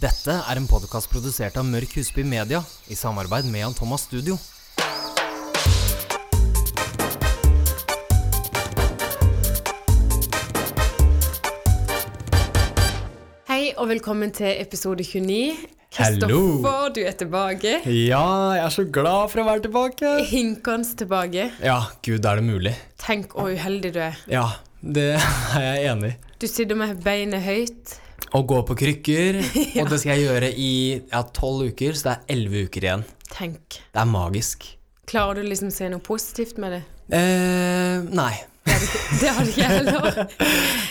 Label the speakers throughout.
Speaker 1: Dette er en podkast produsert av Mørk Husby Media i samarbeid med Jan Thomas Studio.
Speaker 2: Hei og velkommen til episode 29.
Speaker 3: Hallo.
Speaker 2: Kristoffer, du er tilbake.
Speaker 3: Ja, jeg er så glad for å være tilbake.
Speaker 2: Hinkans tilbake.
Speaker 3: Ja, gud, er det mulig?
Speaker 2: Tenk hvor uheldig du er.
Speaker 3: Ja, det er jeg enig i.
Speaker 2: Du sitter med beinet høyt.
Speaker 3: Å gå på krykker, og det skal jeg gjøre i ja, tolv uker, så det er elleve uker igjen.
Speaker 2: Tenk.
Speaker 3: Det er magisk.
Speaker 2: Klarer du liksom å se noe positivt med det?
Speaker 3: Eh, nei.
Speaker 2: Det har du ikke heller.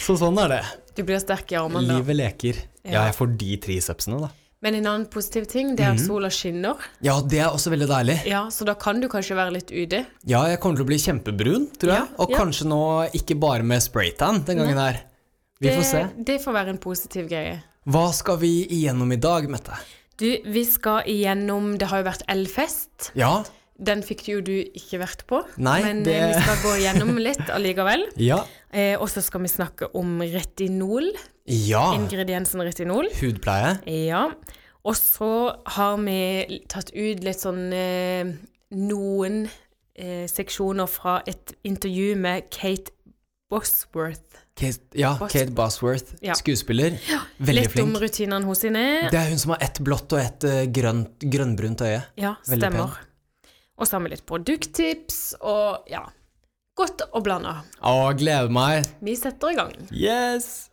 Speaker 3: Så sånn er det.
Speaker 2: Du blir sterk i armene da.
Speaker 3: Livet leker.
Speaker 2: Ja.
Speaker 3: Ja, jeg får de tricepsene, da.
Speaker 2: Men en annen positiv ting, det er
Speaker 3: Mhm.
Speaker 2: at sola skinner.
Speaker 3: Ja, det er også veldig deilig.
Speaker 2: Ja, så da kan du kanskje være litt ute.
Speaker 3: Ja, jeg kommer til å bli kjempebrun, tror jeg.
Speaker 2: Ja,
Speaker 3: og
Speaker 2: ja.
Speaker 3: kanskje nå ikke bare med spraytan den gangen her. Vi får se.
Speaker 2: Det, det får være en positiv greie.
Speaker 3: Hva skal vi igjennom i dag, Mette?
Speaker 2: Du, vi skal igjennom Det har jo vært elfest.
Speaker 3: Ja,
Speaker 2: Den fikk jo du ikke vært på.
Speaker 3: Nei,
Speaker 2: men
Speaker 3: det-
Speaker 2: eh, vi skal gå igjennom litt allikevel.
Speaker 3: ja,
Speaker 2: Eh, og så skal vi snakke om retinol.
Speaker 3: ja.
Speaker 2: Ingrediensen retinol.
Speaker 3: Hudpleie?
Speaker 2: Ja. Og så har vi tatt ut litt sånn eh, Noen eh, seksjoner fra et intervju med Kate Bosworth.
Speaker 3: Kate, ja,
Speaker 2: Bosworth.
Speaker 3: Kate Bosworth,
Speaker 2: Ja.
Speaker 3: skuespiller. Veldig
Speaker 2: litt om
Speaker 3: flink.
Speaker 2: rutinene hos sine.
Speaker 3: Det er hun som har ett blått og ett eh, grønt, grønnbrunt øye.
Speaker 2: ja,
Speaker 3: veldig
Speaker 2: stemmer. Og så har vi litt produkttips og ja. Godt og blanda.
Speaker 3: Å, gleder meg!
Speaker 2: Vi setter i gang.
Speaker 3: Yes!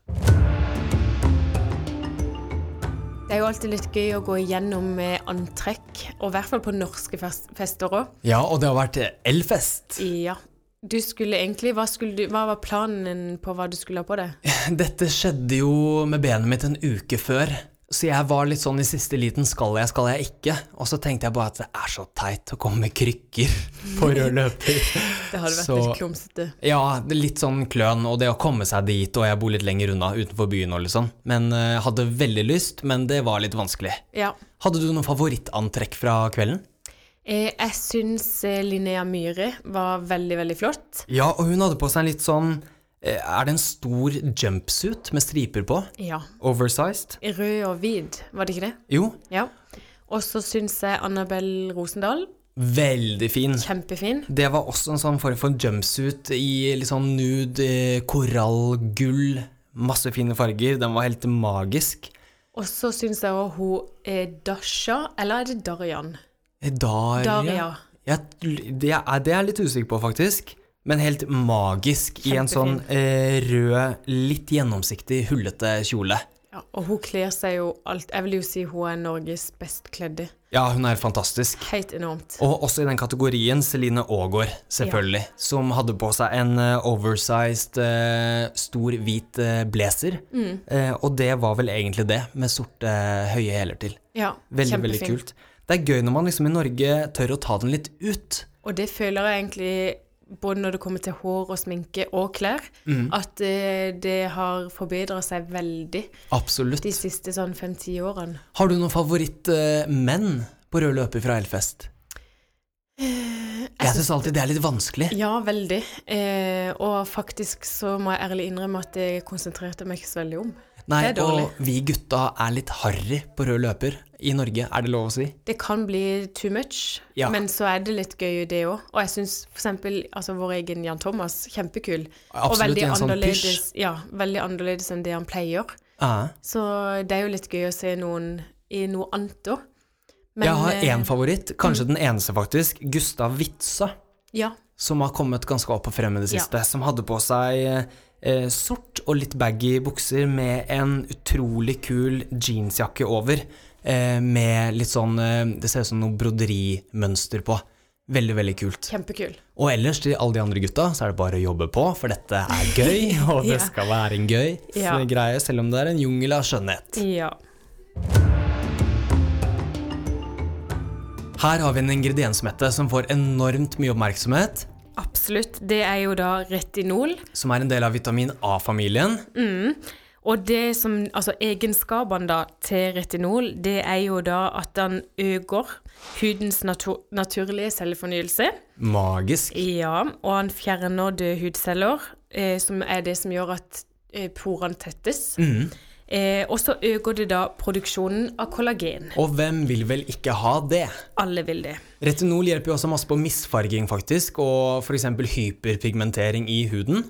Speaker 2: Det er jo alltid litt gøy å gå igjennom eh, antrekk, og i hvert fall på norske fest fester òg.
Speaker 3: Ja, og det har vært eh, elfest.
Speaker 2: Ja. Du skulle egentlig, hva, skulle du, hva var planen din på hva du skulle ha på deg?
Speaker 3: Dette skjedde jo med benet mitt en uke før. Så jeg var litt sånn i siste liten skal jeg, skal jeg ikke? Og så tenkte jeg bare at det er så teit å komme med krykker på rød løper.
Speaker 2: Det hadde vært
Speaker 3: Så-
Speaker 2: litt klumsete.
Speaker 3: Ja, det er litt sånn kløn, og det å komme seg dit, og jeg bor litt lenger unna, utenfor byen og liksom. Men eh, jeg hadde veldig lyst, men det var litt vanskelig.
Speaker 2: Ja.
Speaker 3: Hadde du noen favorittantrekk fra kvelden?
Speaker 2: Eh, Jeg syns eh, Linnea Myhre var veldig, veldig flott.
Speaker 3: Ja, og hun hadde på seg en litt sånn eh, Er det en stor jumpsuit med striper på?
Speaker 2: Ja.
Speaker 3: Oversized?
Speaker 2: I Rød og hvit, var det ikke det?
Speaker 3: Jo,
Speaker 2: Ja. Og så syns jeg Annabelle Rosendal,
Speaker 3: veldig fin.
Speaker 2: kjempefin.
Speaker 3: Det var også en sånn form for jumpsuit i litt sånn nude, eh, korallgull, masse fine farger. Den var helt magisk.
Speaker 2: Og så syns jeg òg hun eh, Dasha, eller er det Darian?
Speaker 3: Eh, Daria.
Speaker 2: Daria.
Speaker 3: Jeg, det, er, det er jeg litt usikker på, faktisk. Men helt magisk i en sånn
Speaker 2: Kjempefin.
Speaker 3: eh, rød, litt gjennomsiktig, hullete kjole.
Speaker 2: Ja, og hun kler seg jo alt Jeg vil jo si hun er Norges best kledde.
Speaker 3: Ja, hun er fantastisk.
Speaker 2: Helt enormt.
Speaker 3: Og også i den kategorien Celine Aagaard, selvfølgelig. Som hadde på seg en eh, oversized, eh, stor, hvit eh, blazer. Eh, og det var vel egentlig det, med sorte, høye hæler til.
Speaker 2: Ja,
Speaker 3: Veldig, veldig
Speaker 2: kjempefin.
Speaker 3: kult. Det er gøy når man liksom i Norge tør å ta den litt ut.
Speaker 2: Og det føler jeg egentlig både når det kommer til hår og sminke og klær,
Speaker 3: Mm.
Speaker 2: at eh, det har forbedra seg veldig
Speaker 3: Absolutt.
Speaker 2: de siste sånn fem-ti årene.
Speaker 3: Har du noen favorittmenn på rød løper fra Elfest? Jeg syns alltid det er litt vanskelig.
Speaker 2: Ja, veldig. Eh, og faktisk så må jeg ærlig innrømme at jeg konsentrerte meg ikke så veldig om.
Speaker 3: Nei,
Speaker 2: det er dårlig.
Speaker 3: og vi gutta er litt harry på rød løper i Norge, er det lov å si?
Speaker 2: Det kan bli too much,
Speaker 3: Ja.
Speaker 2: men så er det litt gøy det òg. Og jeg syns f.eks. Altså, vår egen Jan Thomas, kjempekul. og
Speaker 3: Absolutt,
Speaker 2: veldig
Speaker 3: i en sånn
Speaker 2: annerledes, ja, veldig annerledes enn det han pleier.
Speaker 3: Ja.
Speaker 2: Så det er jo litt gøy å se noen i noe annet eh, òg.
Speaker 3: Jeg har én favoritt, kanskje den eneste faktisk, Gustav Witzøe,
Speaker 2: Ja.
Speaker 3: som har kommet ganske opp og frem i det
Speaker 2: Ja.
Speaker 3: siste. Som hadde på seg eh, sort og litt baggy bukser med en utrolig kul jeansjakke over. Eh, med litt sånn eh, Det ser ut som noe broderimønster på. Veldig, veldig kult.
Speaker 2: Kjempekul.
Speaker 3: Og ellers til alle de andre gutta, så er det bare å jobbe på, for dette er gøy, og det
Speaker 2: Ja.
Speaker 3: skal være en gøy eh,
Speaker 2: Ja.
Speaker 3: greie, selv om det er en jungel av skjønnhet.
Speaker 2: Ja.
Speaker 3: Her har vi en ingrediensmette som får enormt mye oppmerksomhet,
Speaker 2: Absolutt. Det er jo da retinol.
Speaker 3: som er en del av vitamin A-familien.
Speaker 2: Og det som, altså egenskapene da til retinol, det er jo da at den øker hudens natu naturlige cellefornyelse.
Speaker 3: Magisk.
Speaker 2: Ja, og han fjerner døde hudceller, eh, som er det som gjør at eh, porene tettes. Eh, og så øker det da produksjonen av kollagen.
Speaker 3: Og hvem vil vel ikke ha det?
Speaker 2: Alle vil det.
Speaker 3: Retinol hjelper jo også masse på misfarging, faktisk, og f.eks. hyperpigmentering i huden.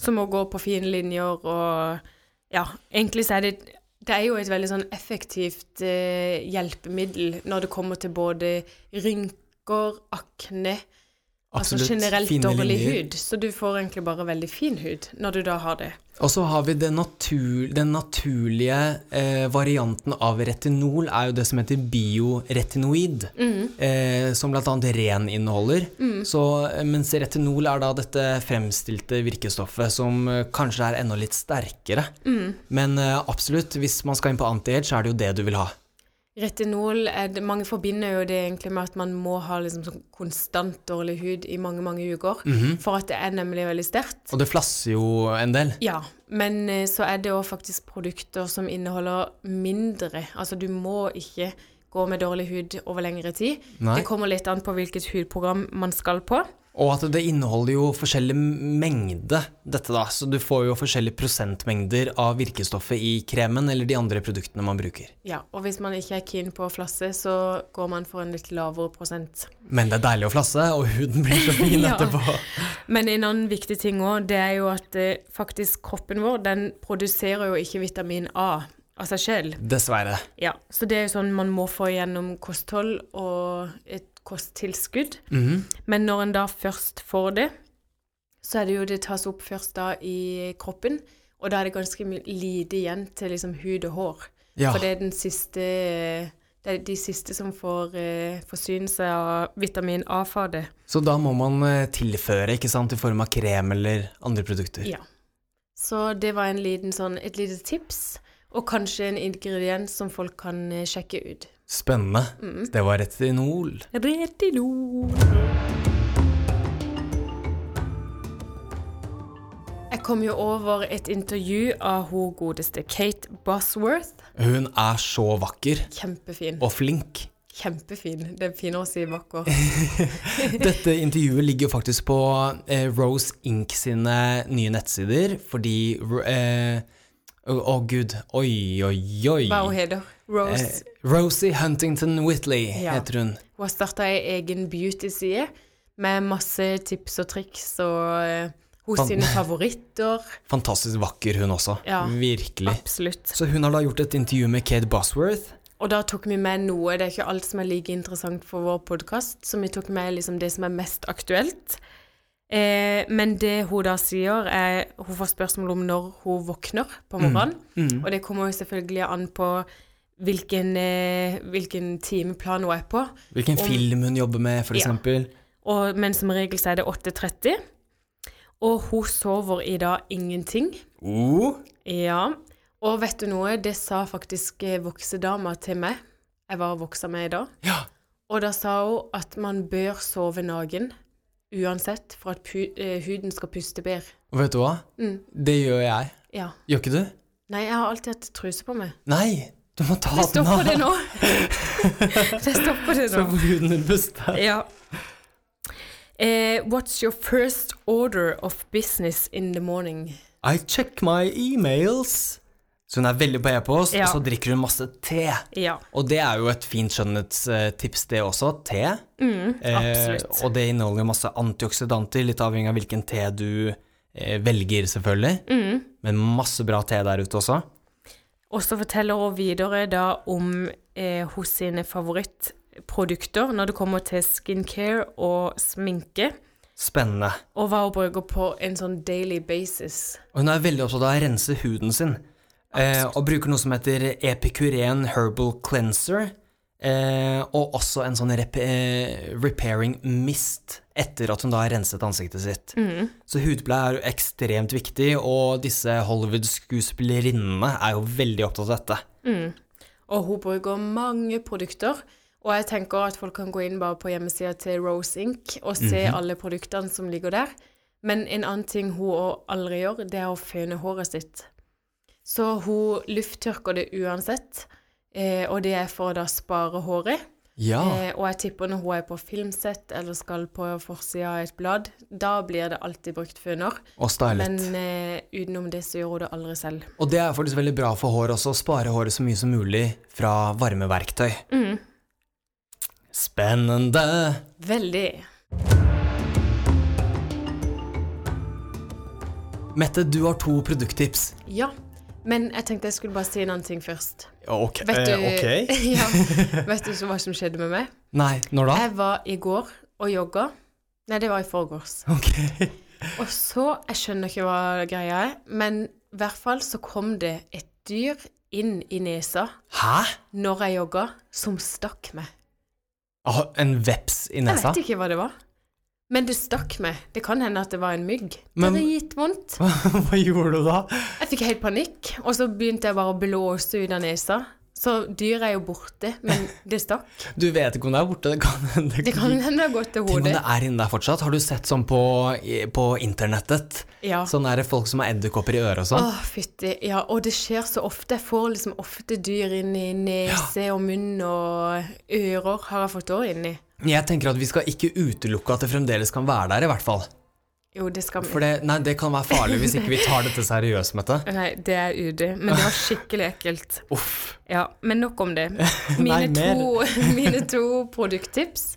Speaker 2: Som å gå på fine linjer og Ja, egentlig så er det Det er jo et veldig sånn effektivt eh, hjelpemiddel når det kommer til både rynker, akne Altså
Speaker 3: Absolutt
Speaker 2: generelt
Speaker 3: fine
Speaker 2: dårlig
Speaker 3: linjer.
Speaker 2: hud. Så du får egentlig bare veldig fin hud når du da har det.
Speaker 3: Og så har vi det natur, den naturlige eh, varianten av retinol, er jo det som heter bioretinoid,
Speaker 2: Mm.
Speaker 3: eh, som bl.a. ren inneholder. Så, eh, mens retinol er da dette fremstilte virkestoffet som eh, kanskje er enda litt sterkere.
Speaker 2: Mm.
Speaker 3: Men eh, absolutt, hvis man skal inn på anti-age, så er det jo det du vil ha.
Speaker 2: Retinol er det, Mange forbinder jo det egentlig med at man må ha liksom sånn konstant dårlig hud i mange, mange uker.
Speaker 3: Mhm.
Speaker 2: For at det er nemlig veldig sterkt.
Speaker 3: Og det flasser jo en del.
Speaker 2: Ja, men eh, så er det òg faktisk produkter som inneholder mindre. Altså du må ikke gå med dårlig hud over lengre tid.
Speaker 3: Nei.
Speaker 2: Det kommer litt an på hvilket hudprogram man skal på.
Speaker 3: Og at det inneholder jo forskjellig mengde, dette da. Så du får jo forskjellige prosentmengder av virkestoffet i kremen eller de andre produktene man bruker.
Speaker 2: Ja, Og hvis man ikke er keen på å flasse, så går man for en litt lavere prosent.
Speaker 3: Men det er deilig å flasse, og huden blir så fin
Speaker 2: Ja.
Speaker 3: etterpå.
Speaker 2: Men en annen viktig ting òg, det er jo at eh, faktisk kroppen vår, den produserer jo ikke vitamin A av seg selv.
Speaker 3: Dessverre.
Speaker 2: Ja, så det er jo sånn man må få gjennom kosthold og et kosttilskudd.
Speaker 3: Mhm.
Speaker 2: Men når en da først får det, så er det jo det tas opp først da i kroppen, og da er det ganske my- lite igjen til liksom hud og hår.
Speaker 3: Ja.
Speaker 2: For det er den siste det er de siste som får eh, forsyne seg av vitamin A fra det.
Speaker 3: Så da må man eh, tilføre, ikke sant, i form av krem eller andre produkter.
Speaker 2: Ja. Så det var en liten sånn, et lite tips, og kanskje en ingrediens som folk kan eh, sjekke ut.
Speaker 3: Spennende.
Speaker 2: Mhm.
Speaker 3: Det var retinol.
Speaker 2: Retinol. Jeg kom jo over et intervju av hun godeste Kate Bosworth.
Speaker 3: Hun er så vakker
Speaker 2: Kjempefin.
Speaker 3: og flink.
Speaker 2: Kjempefin. Det er finere å si vakker.
Speaker 3: Dette intervjuet ligger jo faktisk på eh, Rose Inc. sine nye nettsider, fordi ro- eh, Å, å, gud. Oi, oi, oi.
Speaker 2: Hva hun heter Rose.
Speaker 3: Eh, Rosie Huntington Whitley
Speaker 2: Ja.
Speaker 3: heter hun.
Speaker 2: Hun har starta ei egen beauty-side med masse tips og triks og eh, hun
Speaker 3: Fan.
Speaker 2: sine favoritter.
Speaker 3: Fantastisk vakker, hun også.
Speaker 2: Ja.
Speaker 3: Virkelig.
Speaker 2: Absolutt.
Speaker 3: Så hun har da gjort et intervju med Kate Bosworth.
Speaker 2: Og da tok vi med noe, det er ikke alt som er like interessant for vår podkast, så vi tok med liksom det som er mest aktuelt. Eh, men det hun da sier, er hun får spørsmål om når hun våkner på morgenen. Og det kommer jo selvfølgelig an på hvilken, eh, hvilken timeplan hun er på.
Speaker 3: Hvilken
Speaker 2: Om-
Speaker 3: film hun jobber med, for
Speaker 2: Ja.
Speaker 3: eksempel.
Speaker 2: Og, men som regel så er det 8.30. Og hun sover i dag ingenting.
Speaker 3: Oh.
Speaker 2: Ja. Og vet du noe, det sa faktisk eh, voksedama til meg. Jeg var og voksa med i dag.
Speaker 3: Ja.
Speaker 2: Og da sa hun at man bør sove naken uansett for at pu eh, huden skal puste bedre.
Speaker 3: Og vet du hva?
Speaker 2: Mm.
Speaker 3: Det gjør jeg.
Speaker 2: Ja.
Speaker 3: Gjør ikke du?
Speaker 2: Nei, jeg har alltid hatt truse på meg.
Speaker 3: Nei! Du må ta
Speaker 2: Det
Speaker 3: den
Speaker 2: stopper det nå. det stopper det
Speaker 3: Så
Speaker 2: nå.
Speaker 3: får huden din puste.
Speaker 2: Ja. Eh, what's your first order of business in the morning?
Speaker 3: I check my emails. Så hun er veldig på e-post,
Speaker 2: Ja.
Speaker 3: og så drikker hun masse te.
Speaker 2: Ja.
Speaker 3: Og det er jo et fint skjønnhetstips, det også. Te.
Speaker 2: Mm,
Speaker 3: Eh,
Speaker 2: absolutt.
Speaker 3: og det inneholder jo masse antioksidanter, litt avhengig av hvilken te du eh, velger, selvfølgelig.
Speaker 2: Mm.
Speaker 3: Men masse bra te der ute også.
Speaker 2: Og så forteller hun videre da om eh, hos sine favorittprodukter når det kommer til skincare og sminke,
Speaker 3: Spennende.
Speaker 2: og hva hun bruker på en sånn daily basis.
Speaker 3: Og hun er veldig opptatt av å rense huden sin, eh, og bruker noe som heter Epicuren Herbal Cleanser, eh, og også en sånn rep eh, repairing mist etter at hun da har renset ansiktet sitt. Så hudpleie er jo ekstremt viktig, og disse Hollywood-skuespillerinnene er jo veldig opptatt av dette.
Speaker 2: Og hun bruker mange produkter. Og jeg tenker at folk kan gå inn bare på hjemmesida til Rose Inc. og se alle produktene som ligger der. Men en annen ting hun også aldri gjør, det er å føne håret sitt. Så hun lufttørker det uansett, eh, og det er for å da spare håret.
Speaker 3: Ja.
Speaker 2: Eh, og jeg tipper når hun er på filmsett eller skal på forsida av et blad, da blir det alltid brukt føner.
Speaker 3: Og stylet.
Speaker 2: Men eh, utenom det så gjør hun det aldri selv.
Speaker 3: Og det er faktisk veldig bra for hår også, å spare håret så mye som mulig fra varmeverktøy. Spennende!
Speaker 2: Veldig.
Speaker 3: Mette, du har to produkttips.
Speaker 2: Ja. Men jeg tenkte jeg skulle bare si en annen ting først.
Speaker 3: Ok.
Speaker 2: Vet du,
Speaker 4: Eh, ok.
Speaker 2: ja, vet du så hva som skjedde med meg?
Speaker 3: Nei, når da?
Speaker 2: Jeg var i går og jogga. Nei, det var i forgårs.
Speaker 3: Ok.
Speaker 2: Og så, jeg skjønner ikke hva greia er, men i hvert fall så kom det et dyr inn i nesa
Speaker 3: Hæ?
Speaker 2: når jeg jogga, som stakk meg.
Speaker 3: Ah, en veps i
Speaker 2: Jeg
Speaker 3: nesa?
Speaker 2: vet ikke hva det var. Men det stakk meg. Det kan hende at det var en mygg.
Speaker 3: Men-
Speaker 2: det gitt vondt.
Speaker 3: Hva gjorde du da?
Speaker 2: Jeg fikk helt panikk, og så begynte jeg bare å blåse ut av nesa. Så dyret er jo borte, men det stakk.
Speaker 3: Du vet ikke om det er borte. Det kan hende
Speaker 2: Det kan hende det har gått til
Speaker 3: Tenk om
Speaker 2: hodet.
Speaker 3: det er inni der fortsatt. Har du sett sånn på, i- på internettet?
Speaker 2: Ja.
Speaker 3: Sånn er det folk som har edderkopper i øret og sånn.
Speaker 2: Åh, fytti. Ja, og det skjer så ofte. Jeg får liksom ofte dyr inn i nese og munn og ører har jeg fått år inni.
Speaker 3: Jeg tenker at vi skal ikke utelukke at det fremdeles kan være der, i hvert fall.
Speaker 2: Jo, det skal
Speaker 3: For det, nei, det kan være farlig hvis ikke vi tar dette seriøst, Mette.
Speaker 2: Nei, det er UD, men det var skikkelig ekkelt.
Speaker 3: Uff.
Speaker 2: Ja, men nok om det. Mine,
Speaker 3: Nei, mer.
Speaker 2: to, mine to produkttips.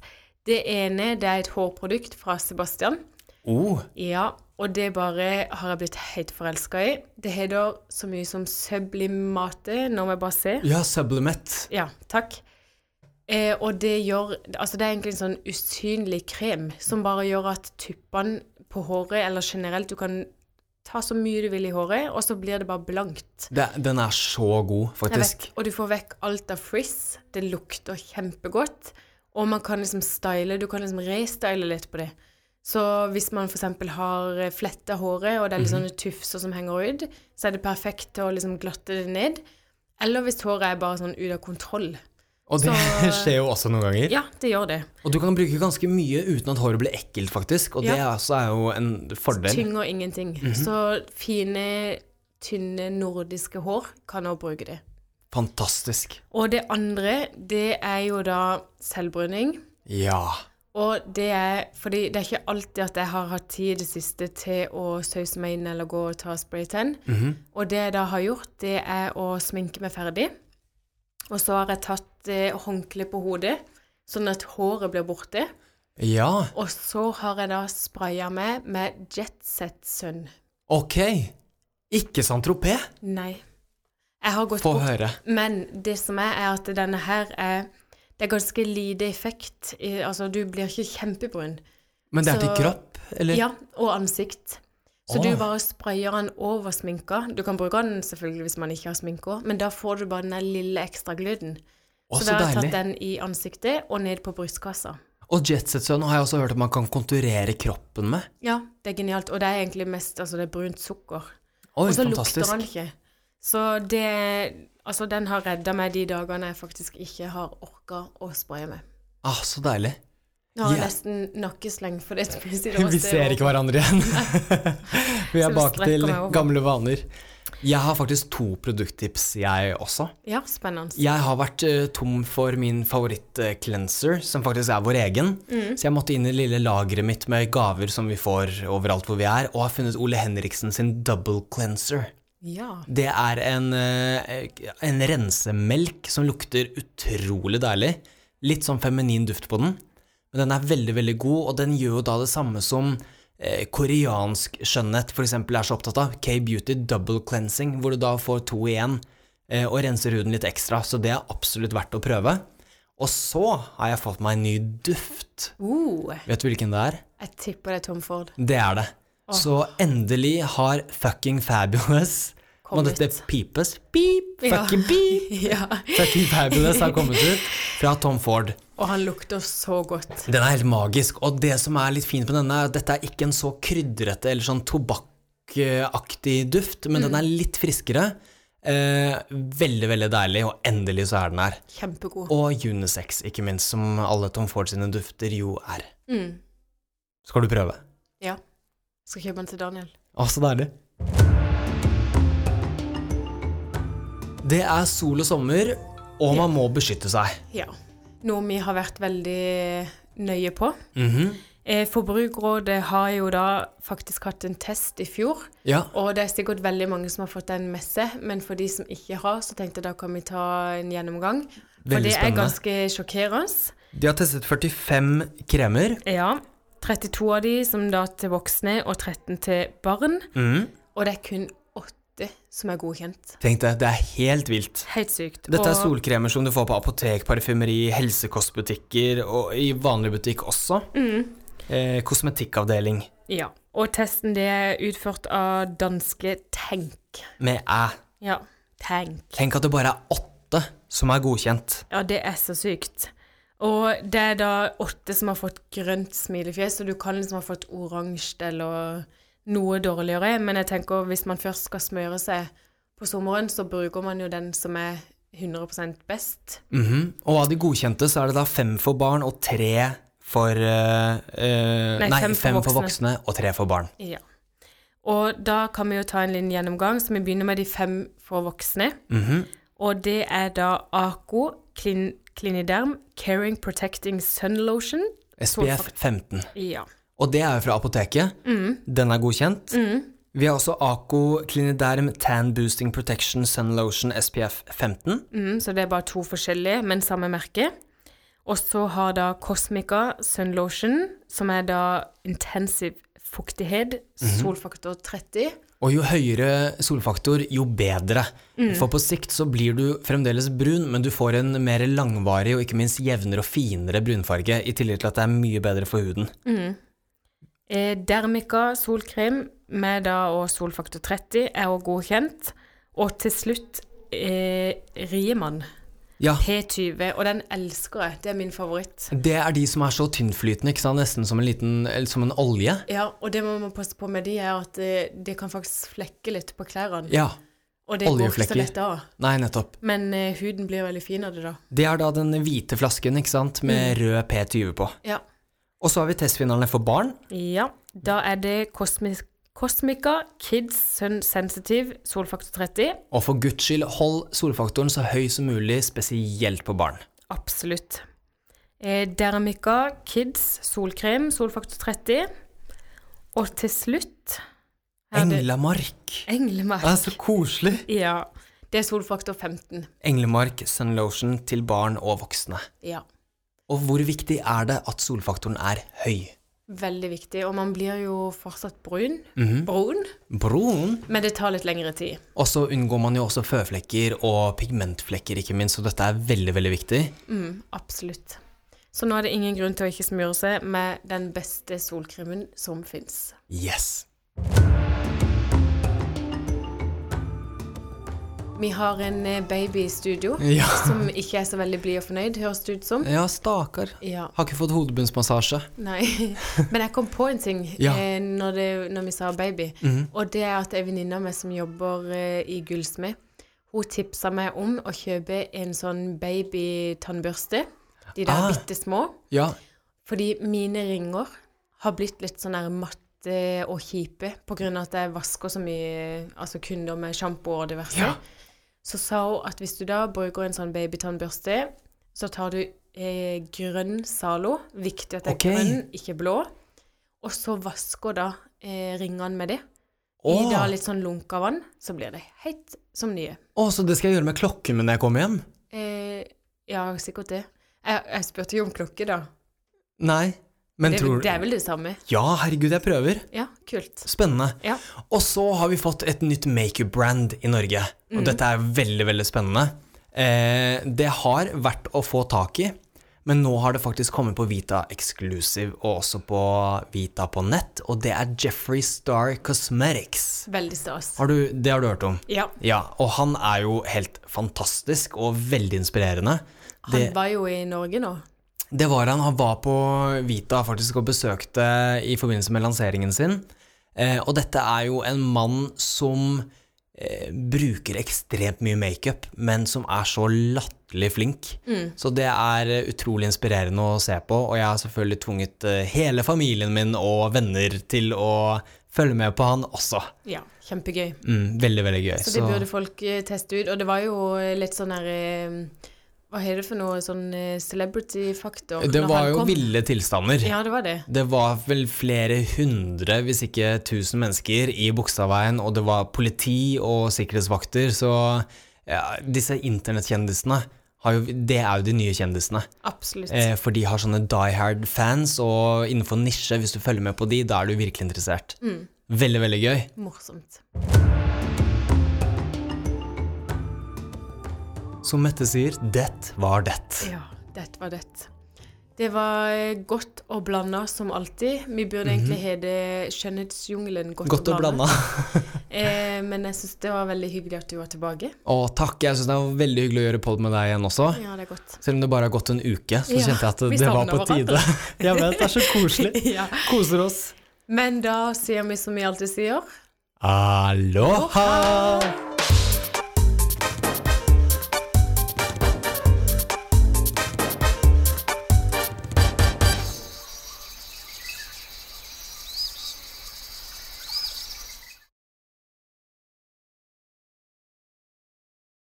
Speaker 2: Det ene det er et hårprodukt fra Sebastian.
Speaker 3: Oh,
Speaker 2: Ja, og det bare har jeg blitt helt forelska i. Det heter så mye som sublimate, nå må jeg bare se.
Speaker 3: ja, sublimate.
Speaker 2: Ja, takk. Eh, og det gjør Altså, det er egentlig en sånn usynlig krem som bare gjør at tuppene på håret, eller generelt, du kan ta så mye du vil i håret, og så blir det bare blankt.
Speaker 3: Det, den er så god,
Speaker 2: Jeg vet,
Speaker 3: faktisk.
Speaker 2: og du får vekk alt av frizz. Det lukter kjempegodt. Og man kan liksom style, du kan liksom restyle litt på det. Så hvis man f.eks. har eh, fletta håret, og det er litt sånne tufser som henger ut, så er det perfekt til å liksom glatte det ned. Eller hvis håret er bare sånn ut av kontroll.
Speaker 3: Og det
Speaker 2: så-
Speaker 3: skjer jo også noen ganger.
Speaker 2: Ja, det gjør det.
Speaker 3: Og du kan bruke ganske mye uten at håret blir ekkelt, faktisk. Og det
Speaker 2: Ja.
Speaker 3: også er jo en fordel.
Speaker 2: Tynger ingenting. Så fine, tynne nordiske hår kan også bruke det.
Speaker 3: Fantastisk.
Speaker 2: Og det andre, det er jo da selvbruning.
Speaker 3: Ja.
Speaker 2: Og det er fordi det er ikke alltid at jeg har hatt tid i det siste til å sause meg inn eller gå og ta spraytan. Og det jeg da har gjort, det er å sminke meg ferdig. Og så har jeg tatt eh, håndkle på hodet, sånn at håret blir borte.
Speaker 3: Ja.
Speaker 2: Og så har jeg da spraya meg med Jetset Sun.
Speaker 3: Ok. Ikke Saint-Tropez.
Speaker 2: Nei. Jeg har gått
Speaker 3: Få
Speaker 2: bort.
Speaker 3: høre.
Speaker 2: Men det som er, er at denne her er Det er ganske lite effekt. i- Altså, du blir ikke kjempebrun.
Speaker 3: Men det er til
Speaker 2: Så-
Speaker 3: kropp, eller?
Speaker 2: Ja, og ansikt. Så
Speaker 3: Åh.
Speaker 2: du bare sprayer den over sminka. Du kan bruke den selvfølgelig hvis man ikke har sminke også, men da får du bare den der lille ekstra gløden.
Speaker 3: Å,
Speaker 2: så
Speaker 3: så
Speaker 2: da har jeg
Speaker 3: deilig.
Speaker 2: tatt den i ansiktet og ned på brystkassa.
Speaker 3: Og Jetset Sun har jeg også hørt at man kan konturere kroppen med.
Speaker 2: Ja, det er genialt. Og det er egentlig mest altså det er brunt sukker.
Speaker 3: Oi,
Speaker 2: Og så lukter
Speaker 3: fantastisk.
Speaker 2: den ikke. Så det Altså, den har redda meg de dagene jeg faktisk ikke har orka å spraye med.
Speaker 3: Ah, så deilig.
Speaker 2: Nå har jeg
Speaker 3: Ja.
Speaker 2: nesten nakkesleng for det plutselig.
Speaker 3: Vi ser ikke hverandre igjen. Vi
Speaker 2: Så
Speaker 3: er
Speaker 2: vi
Speaker 3: bak
Speaker 2: strekker
Speaker 3: til
Speaker 2: meg over.
Speaker 3: gamle vaner. Jeg har faktisk to produkttips, jeg også.
Speaker 2: Ja, spennende.
Speaker 3: Jeg har vært eh, tom for min favoritt-cleanser, som faktisk er vår egen. Så jeg måtte inn i det lille lageret mitt med gaver som vi får overalt hvor vi er, og har funnet Ole Henriksen sin double cleanser.
Speaker 2: Ja.
Speaker 3: Det er en, eh, en rensemelk som lukter utrolig deilig. Litt sånn feminin duft på den. Men den er veldig, veldig god, og den gjør jo da det samme som eh, koreansk skjønnhet f.eks. er så opptatt av. K-beauty double cleansing, hvor du da får to igjen eh, og renser huden litt ekstra. Så det er absolutt verdt å prøve. Og så har jeg fått meg en ny duft.
Speaker 2: Uh,
Speaker 3: Vet du hvilken det er?
Speaker 2: jeg tipper det er Tom Ford.
Speaker 3: Det er det. Så endelig har fucking fabulous Må
Speaker 2: Kommet.
Speaker 3: dette pipes? Beep, fucking beep!
Speaker 2: Ja.
Speaker 3: Fucking fabulous har kommet ut fra Tom Ford.
Speaker 2: Og han lukter så godt.
Speaker 3: Den er helt magisk, og det som er litt fint med denne, er at dette er ikke en så krydrete eller sånn tobakkaktig duft, men den er litt friskere. Eh, veldig, veldig deilig, og endelig så er den her.
Speaker 2: Kjempegod.
Speaker 3: Og unisex, ikke minst, som alle Tom Ford sine dufter jo er. Skal du prøve?
Speaker 2: Mm. Ja. Skal kjøpe den til Daniel.
Speaker 3: Å, så deilig. Det er sol og sommer, og man må beskytte seg.
Speaker 2: Ja. noe vi har vært veldig nøye på.
Speaker 3: Mhm.
Speaker 2: Eh, Forbrukerrådet har jo da faktisk hatt en test i fjor,
Speaker 3: Ja.
Speaker 2: og det er sikkert veldig mange som har fått den med seg, men for de som ikke har, så tenkte jeg da kan vi ta en gjennomgang. For
Speaker 3: Veldig
Speaker 2: det er
Speaker 3: spennende.
Speaker 2: ganske sjokkerende.
Speaker 3: De har testet 45 kremer.
Speaker 2: Ja. 32 av de som da til voksne, og 13 til barn.
Speaker 3: Mhm.
Speaker 2: Og det er kun 8 som er godkjent.
Speaker 3: Tenk deg, det er helt vilt.
Speaker 2: Helt sykt.
Speaker 3: Dette er
Speaker 2: Og-
Speaker 3: solkremer som du får på apotek, parfymeri, helsekostbutikker og i vanlig butikk også. Eh, kosmetikkavdeling
Speaker 2: Ja. Og testen det er utført av danske Tenk.
Speaker 3: med æ.
Speaker 2: Ja, Tenk.
Speaker 3: Tenk at det bare er åtte som er godkjent.
Speaker 2: Ja, det er så sykt. Og det er da åtte som har fått grønt smilefjes, og du kan liksom ha fått oransje eller noe dårligere. Men jeg tenker hvis man først skal smøre seg på sommeren, så bruker man jo den som er 100 best.
Speaker 3: Mhm. Og av de godkjente så er det da fem for barn og tre for eh, eh,
Speaker 2: Nei,
Speaker 3: Nei, fem, for, voksne. og tre for barn.
Speaker 2: Ja. Og da kan vi jo ta en liten gjennomgang, så vi begynner med de fem for voksne.
Speaker 3: Mhm.
Speaker 2: Og det er da AKO, Klin Kliniderm, Caring Protecting Sun Lotion.
Speaker 3: SPF 15.
Speaker 2: Ja.
Speaker 3: Og det er jo fra apoteket. Den er godkjent. Vi har også Ako Kliniderm Tan Boosting Protection Sun Lotion SPF 15.
Speaker 2: Mm, så det er bare to forskjellige, men samme merke. Og så har da Cosmica Sun Lotion, som er da intensiv fuktighet,
Speaker 3: Mhm.
Speaker 2: solfaktor 30.
Speaker 3: Og jo høyere solfaktor, jo bedre. For på sikt så blir du fremdeles brun, men du får en mer langvarig og ikke minst jevnere og finere brunfarge, i tillegg til at det er mye bedre for huden.
Speaker 2: Eh, Dermica solkrem med da og solfaktor 30 er også godkjent. Og til slutt eh, Riemann
Speaker 3: Ja,
Speaker 2: P20, og den elsker jeg. Det er min favoritt.
Speaker 3: det er de som er så tynnflytende, ikke sant? nesten som en, liten, eller som en olje.
Speaker 2: Ja, og det må man passe på med de, er at det, det kan faktisk flekke litt på klærne.
Speaker 3: Ja,
Speaker 2: og det går ikke så
Speaker 3: oljeflekker.
Speaker 2: lett av.
Speaker 3: nei, nettopp.
Speaker 2: Men eh, huden blir veldig fin av det, da.
Speaker 3: Det er da den hvite flasken ikke sant? med rød P20 på.
Speaker 2: Ja.
Speaker 3: Og så har vi testvinnerne for barn.
Speaker 2: Ja, da er det Cosmic, Cosmica Kids Sun Sensitive solfaktor 30.
Speaker 3: Og for guds skyld, hold solfaktoren så høy som mulig, spesielt på barn.
Speaker 2: Absolutt. Eh, Dermica Kids solkrem solfaktor 30. Og til slutt er det
Speaker 3: Englemark!
Speaker 2: Englemark.
Speaker 3: Det er så koselig!
Speaker 2: Ja. Det er solfaktor 15.
Speaker 3: Englemark Sun Lotion til barn og voksne.
Speaker 2: Ja.
Speaker 3: Og hvor viktig er det at solfaktoren er høy?
Speaker 2: Veldig viktig. Og man blir jo fortsatt brun. Brun.
Speaker 3: Broen.
Speaker 2: Men det tar litt lengre tid.
Speaker 3: Og så unngår man jo også føflekker og pigmentflekker, ikke minst, så dette er veldig, veldig viktig.
Speaker 2: Mm, absolutt. Så nå er det ingen grunn til å ikke smøre seg med den beste solkremen som fins.
Speaker 3: Yes.
Speaker 2: Vi har en eh, baby i studio
Speaker 3: Ja.
Speaker 2: som ikke er så veldig blid og fornøyd, høres det ut som.
Speaker 3: Ja, stakkar.
Speaker 2: Ja,
Speaker 3: Har ikke fått hodebunnsmassasje.
Speaker 2: nei. Men jeg kom på en ting
Speaker 3: Ja. Mhm.
Speaker 2: eh, når, det, når vi sa baby. Og det er at ei venninne av meg som jobber eh, i Gullsmed, hun tipsa meg om å kjøpe en sånn babytannbørste. De der
Speaker 3: Ah.
Speaker 2: bitte små.
Speaker 3: Ja.
Speaker 2: Fordi mine ringer har blitt litt sånn der matte og kjipe på grunn av at jeg vasker så mye altså kunder med sjampo og diverse.
Speaker 3: Ja.
Speaker 2: Så sa hun at hvis du da bruker en sånn babytannbørste, så tar du eh, grønn Zalo. Viktig at det er
Speaker 3: Ok.
Speaker 2: grønn, ikke blå. Og så vasker da eh, ringene med det. I
Speaker 3: Åh.
Speaker 2: da litt sånn lunka vann, så blir det helt som nye.
Speaker 3: Å, så det skal jeg gjøre med klokken min når jeg kommer hjem?
Speaker 2: Eh, ja, sikkert det. Jeg, jeg spurte jo om klokke, da.
Speaker 3: Nei. Men
Speaker 2: Det, er vel-
Speaker 3: tror
Speaker 2: det er vel det samme.
Speaker 3: Ja, herregud, jeg prøver.
Speaker 2: Ja, kult.
Speaker 3: Spennende.
Speaker 2: Ja.
Speaker 3: Og så har vi fått et nytt makeup-brand i Norge. Og
Speaker 2: Mm.
Speaker 3: dette er veldig, veldig spennende. Eh, det har vært å få tak i, men nå har det faktisk kommet på Vita Exclusive og også på Vita på nett, og det er Jeffrey Star Cosmetics.
Speaker 2: Veldig stas.
Speaker 3: Har du, det har du hørt om?
Speaker 2: Ja.
Speaker 3: Ja, og han er jo helt fantastisk og veldig inspirerende.
Speaker 2: Han
Speaker 3: Det,
Speaker 2: var jo i Norge nå.
Speaker 3: det var han. Han var på Vita faktisk og besøkte i forbindelse med lanseringen sin. Eh, og dette er jo en mann som eh, bruker ekstremt mye makeup, men som er så latterlig flink. Så det er eh, utrolig inspirerende å se på, og jeg har selvfølgelig tvunget eh, hele familien min og venner til å følge med på han også.
Speaker 2: Ja. Kjempegøy.
Speaker 3: Mm, veldig, veldig gøy.
Speaker 2: Så det burde folk eh, teste ut. Og det var jo litt sånn her eh, Hva er det for noe sånn eh, celebrity-faktor?
Speaker 3: Det
Speaker 2: når
Speaker 3: var
Speaker 2: han
Speaker 3: jo
Speaker 2: kom?
Speaker 3: ville tilstander.
Speaker 2: Ja, det var det.
Speaker 3: Det var vel flere hundre, hvis ikke tusen mennesker i Bogstadveien, og det var politi og sikkerhetsvakter, så ja, disse internettkjendisene har jo, det er jo de nye kjendisene.
Speaker 2: Absolutt.
Speaker 3: Eh, for de har sånne die hard fans, og innenfor nisje, hvis du følger med på de, da er du virkelig interessert.
Speaker 2: Mm.
Speaker 3: Veldig, veldig gøy.
Speaker 2: Morsomt.
Speaker 3: Som Mette sier, det var det.
Speaker 2: Ja, det var det. Det var eh, godt og blanda som alltid. Vi burde egentlig hete Skjønnhetsjungelen
Speaker 3: Mhm.
Speaker 2: godt,
Speaker 3: Godt å blanda.
Speaker 2: Eh, men jeg syns det var veldig hyggelig at du var tilbake.
Speaker 3: Og takk, jeg syns det var veldig hyggelig å gjøre pod med deg igjen også.
Speaker 2: Ja, det er godt.
Speaker 3: Selv om det bare har gått en uke, så
Speaker 2: Ja,
Speaker 3: kjente jeg at
Speaker 2: vi
Speaker 3: det var
Speaker 2: savner
Speaker 3: på tide.
Speaker 2: hverandre.
Speaker 3: jeg vet, det er så koselig.
Speaker 2: Ja.
Speaker 3: Koser oss.
Speaker 2: Men da sier vi som vi alltid sier.
Speaker 3: Aloha!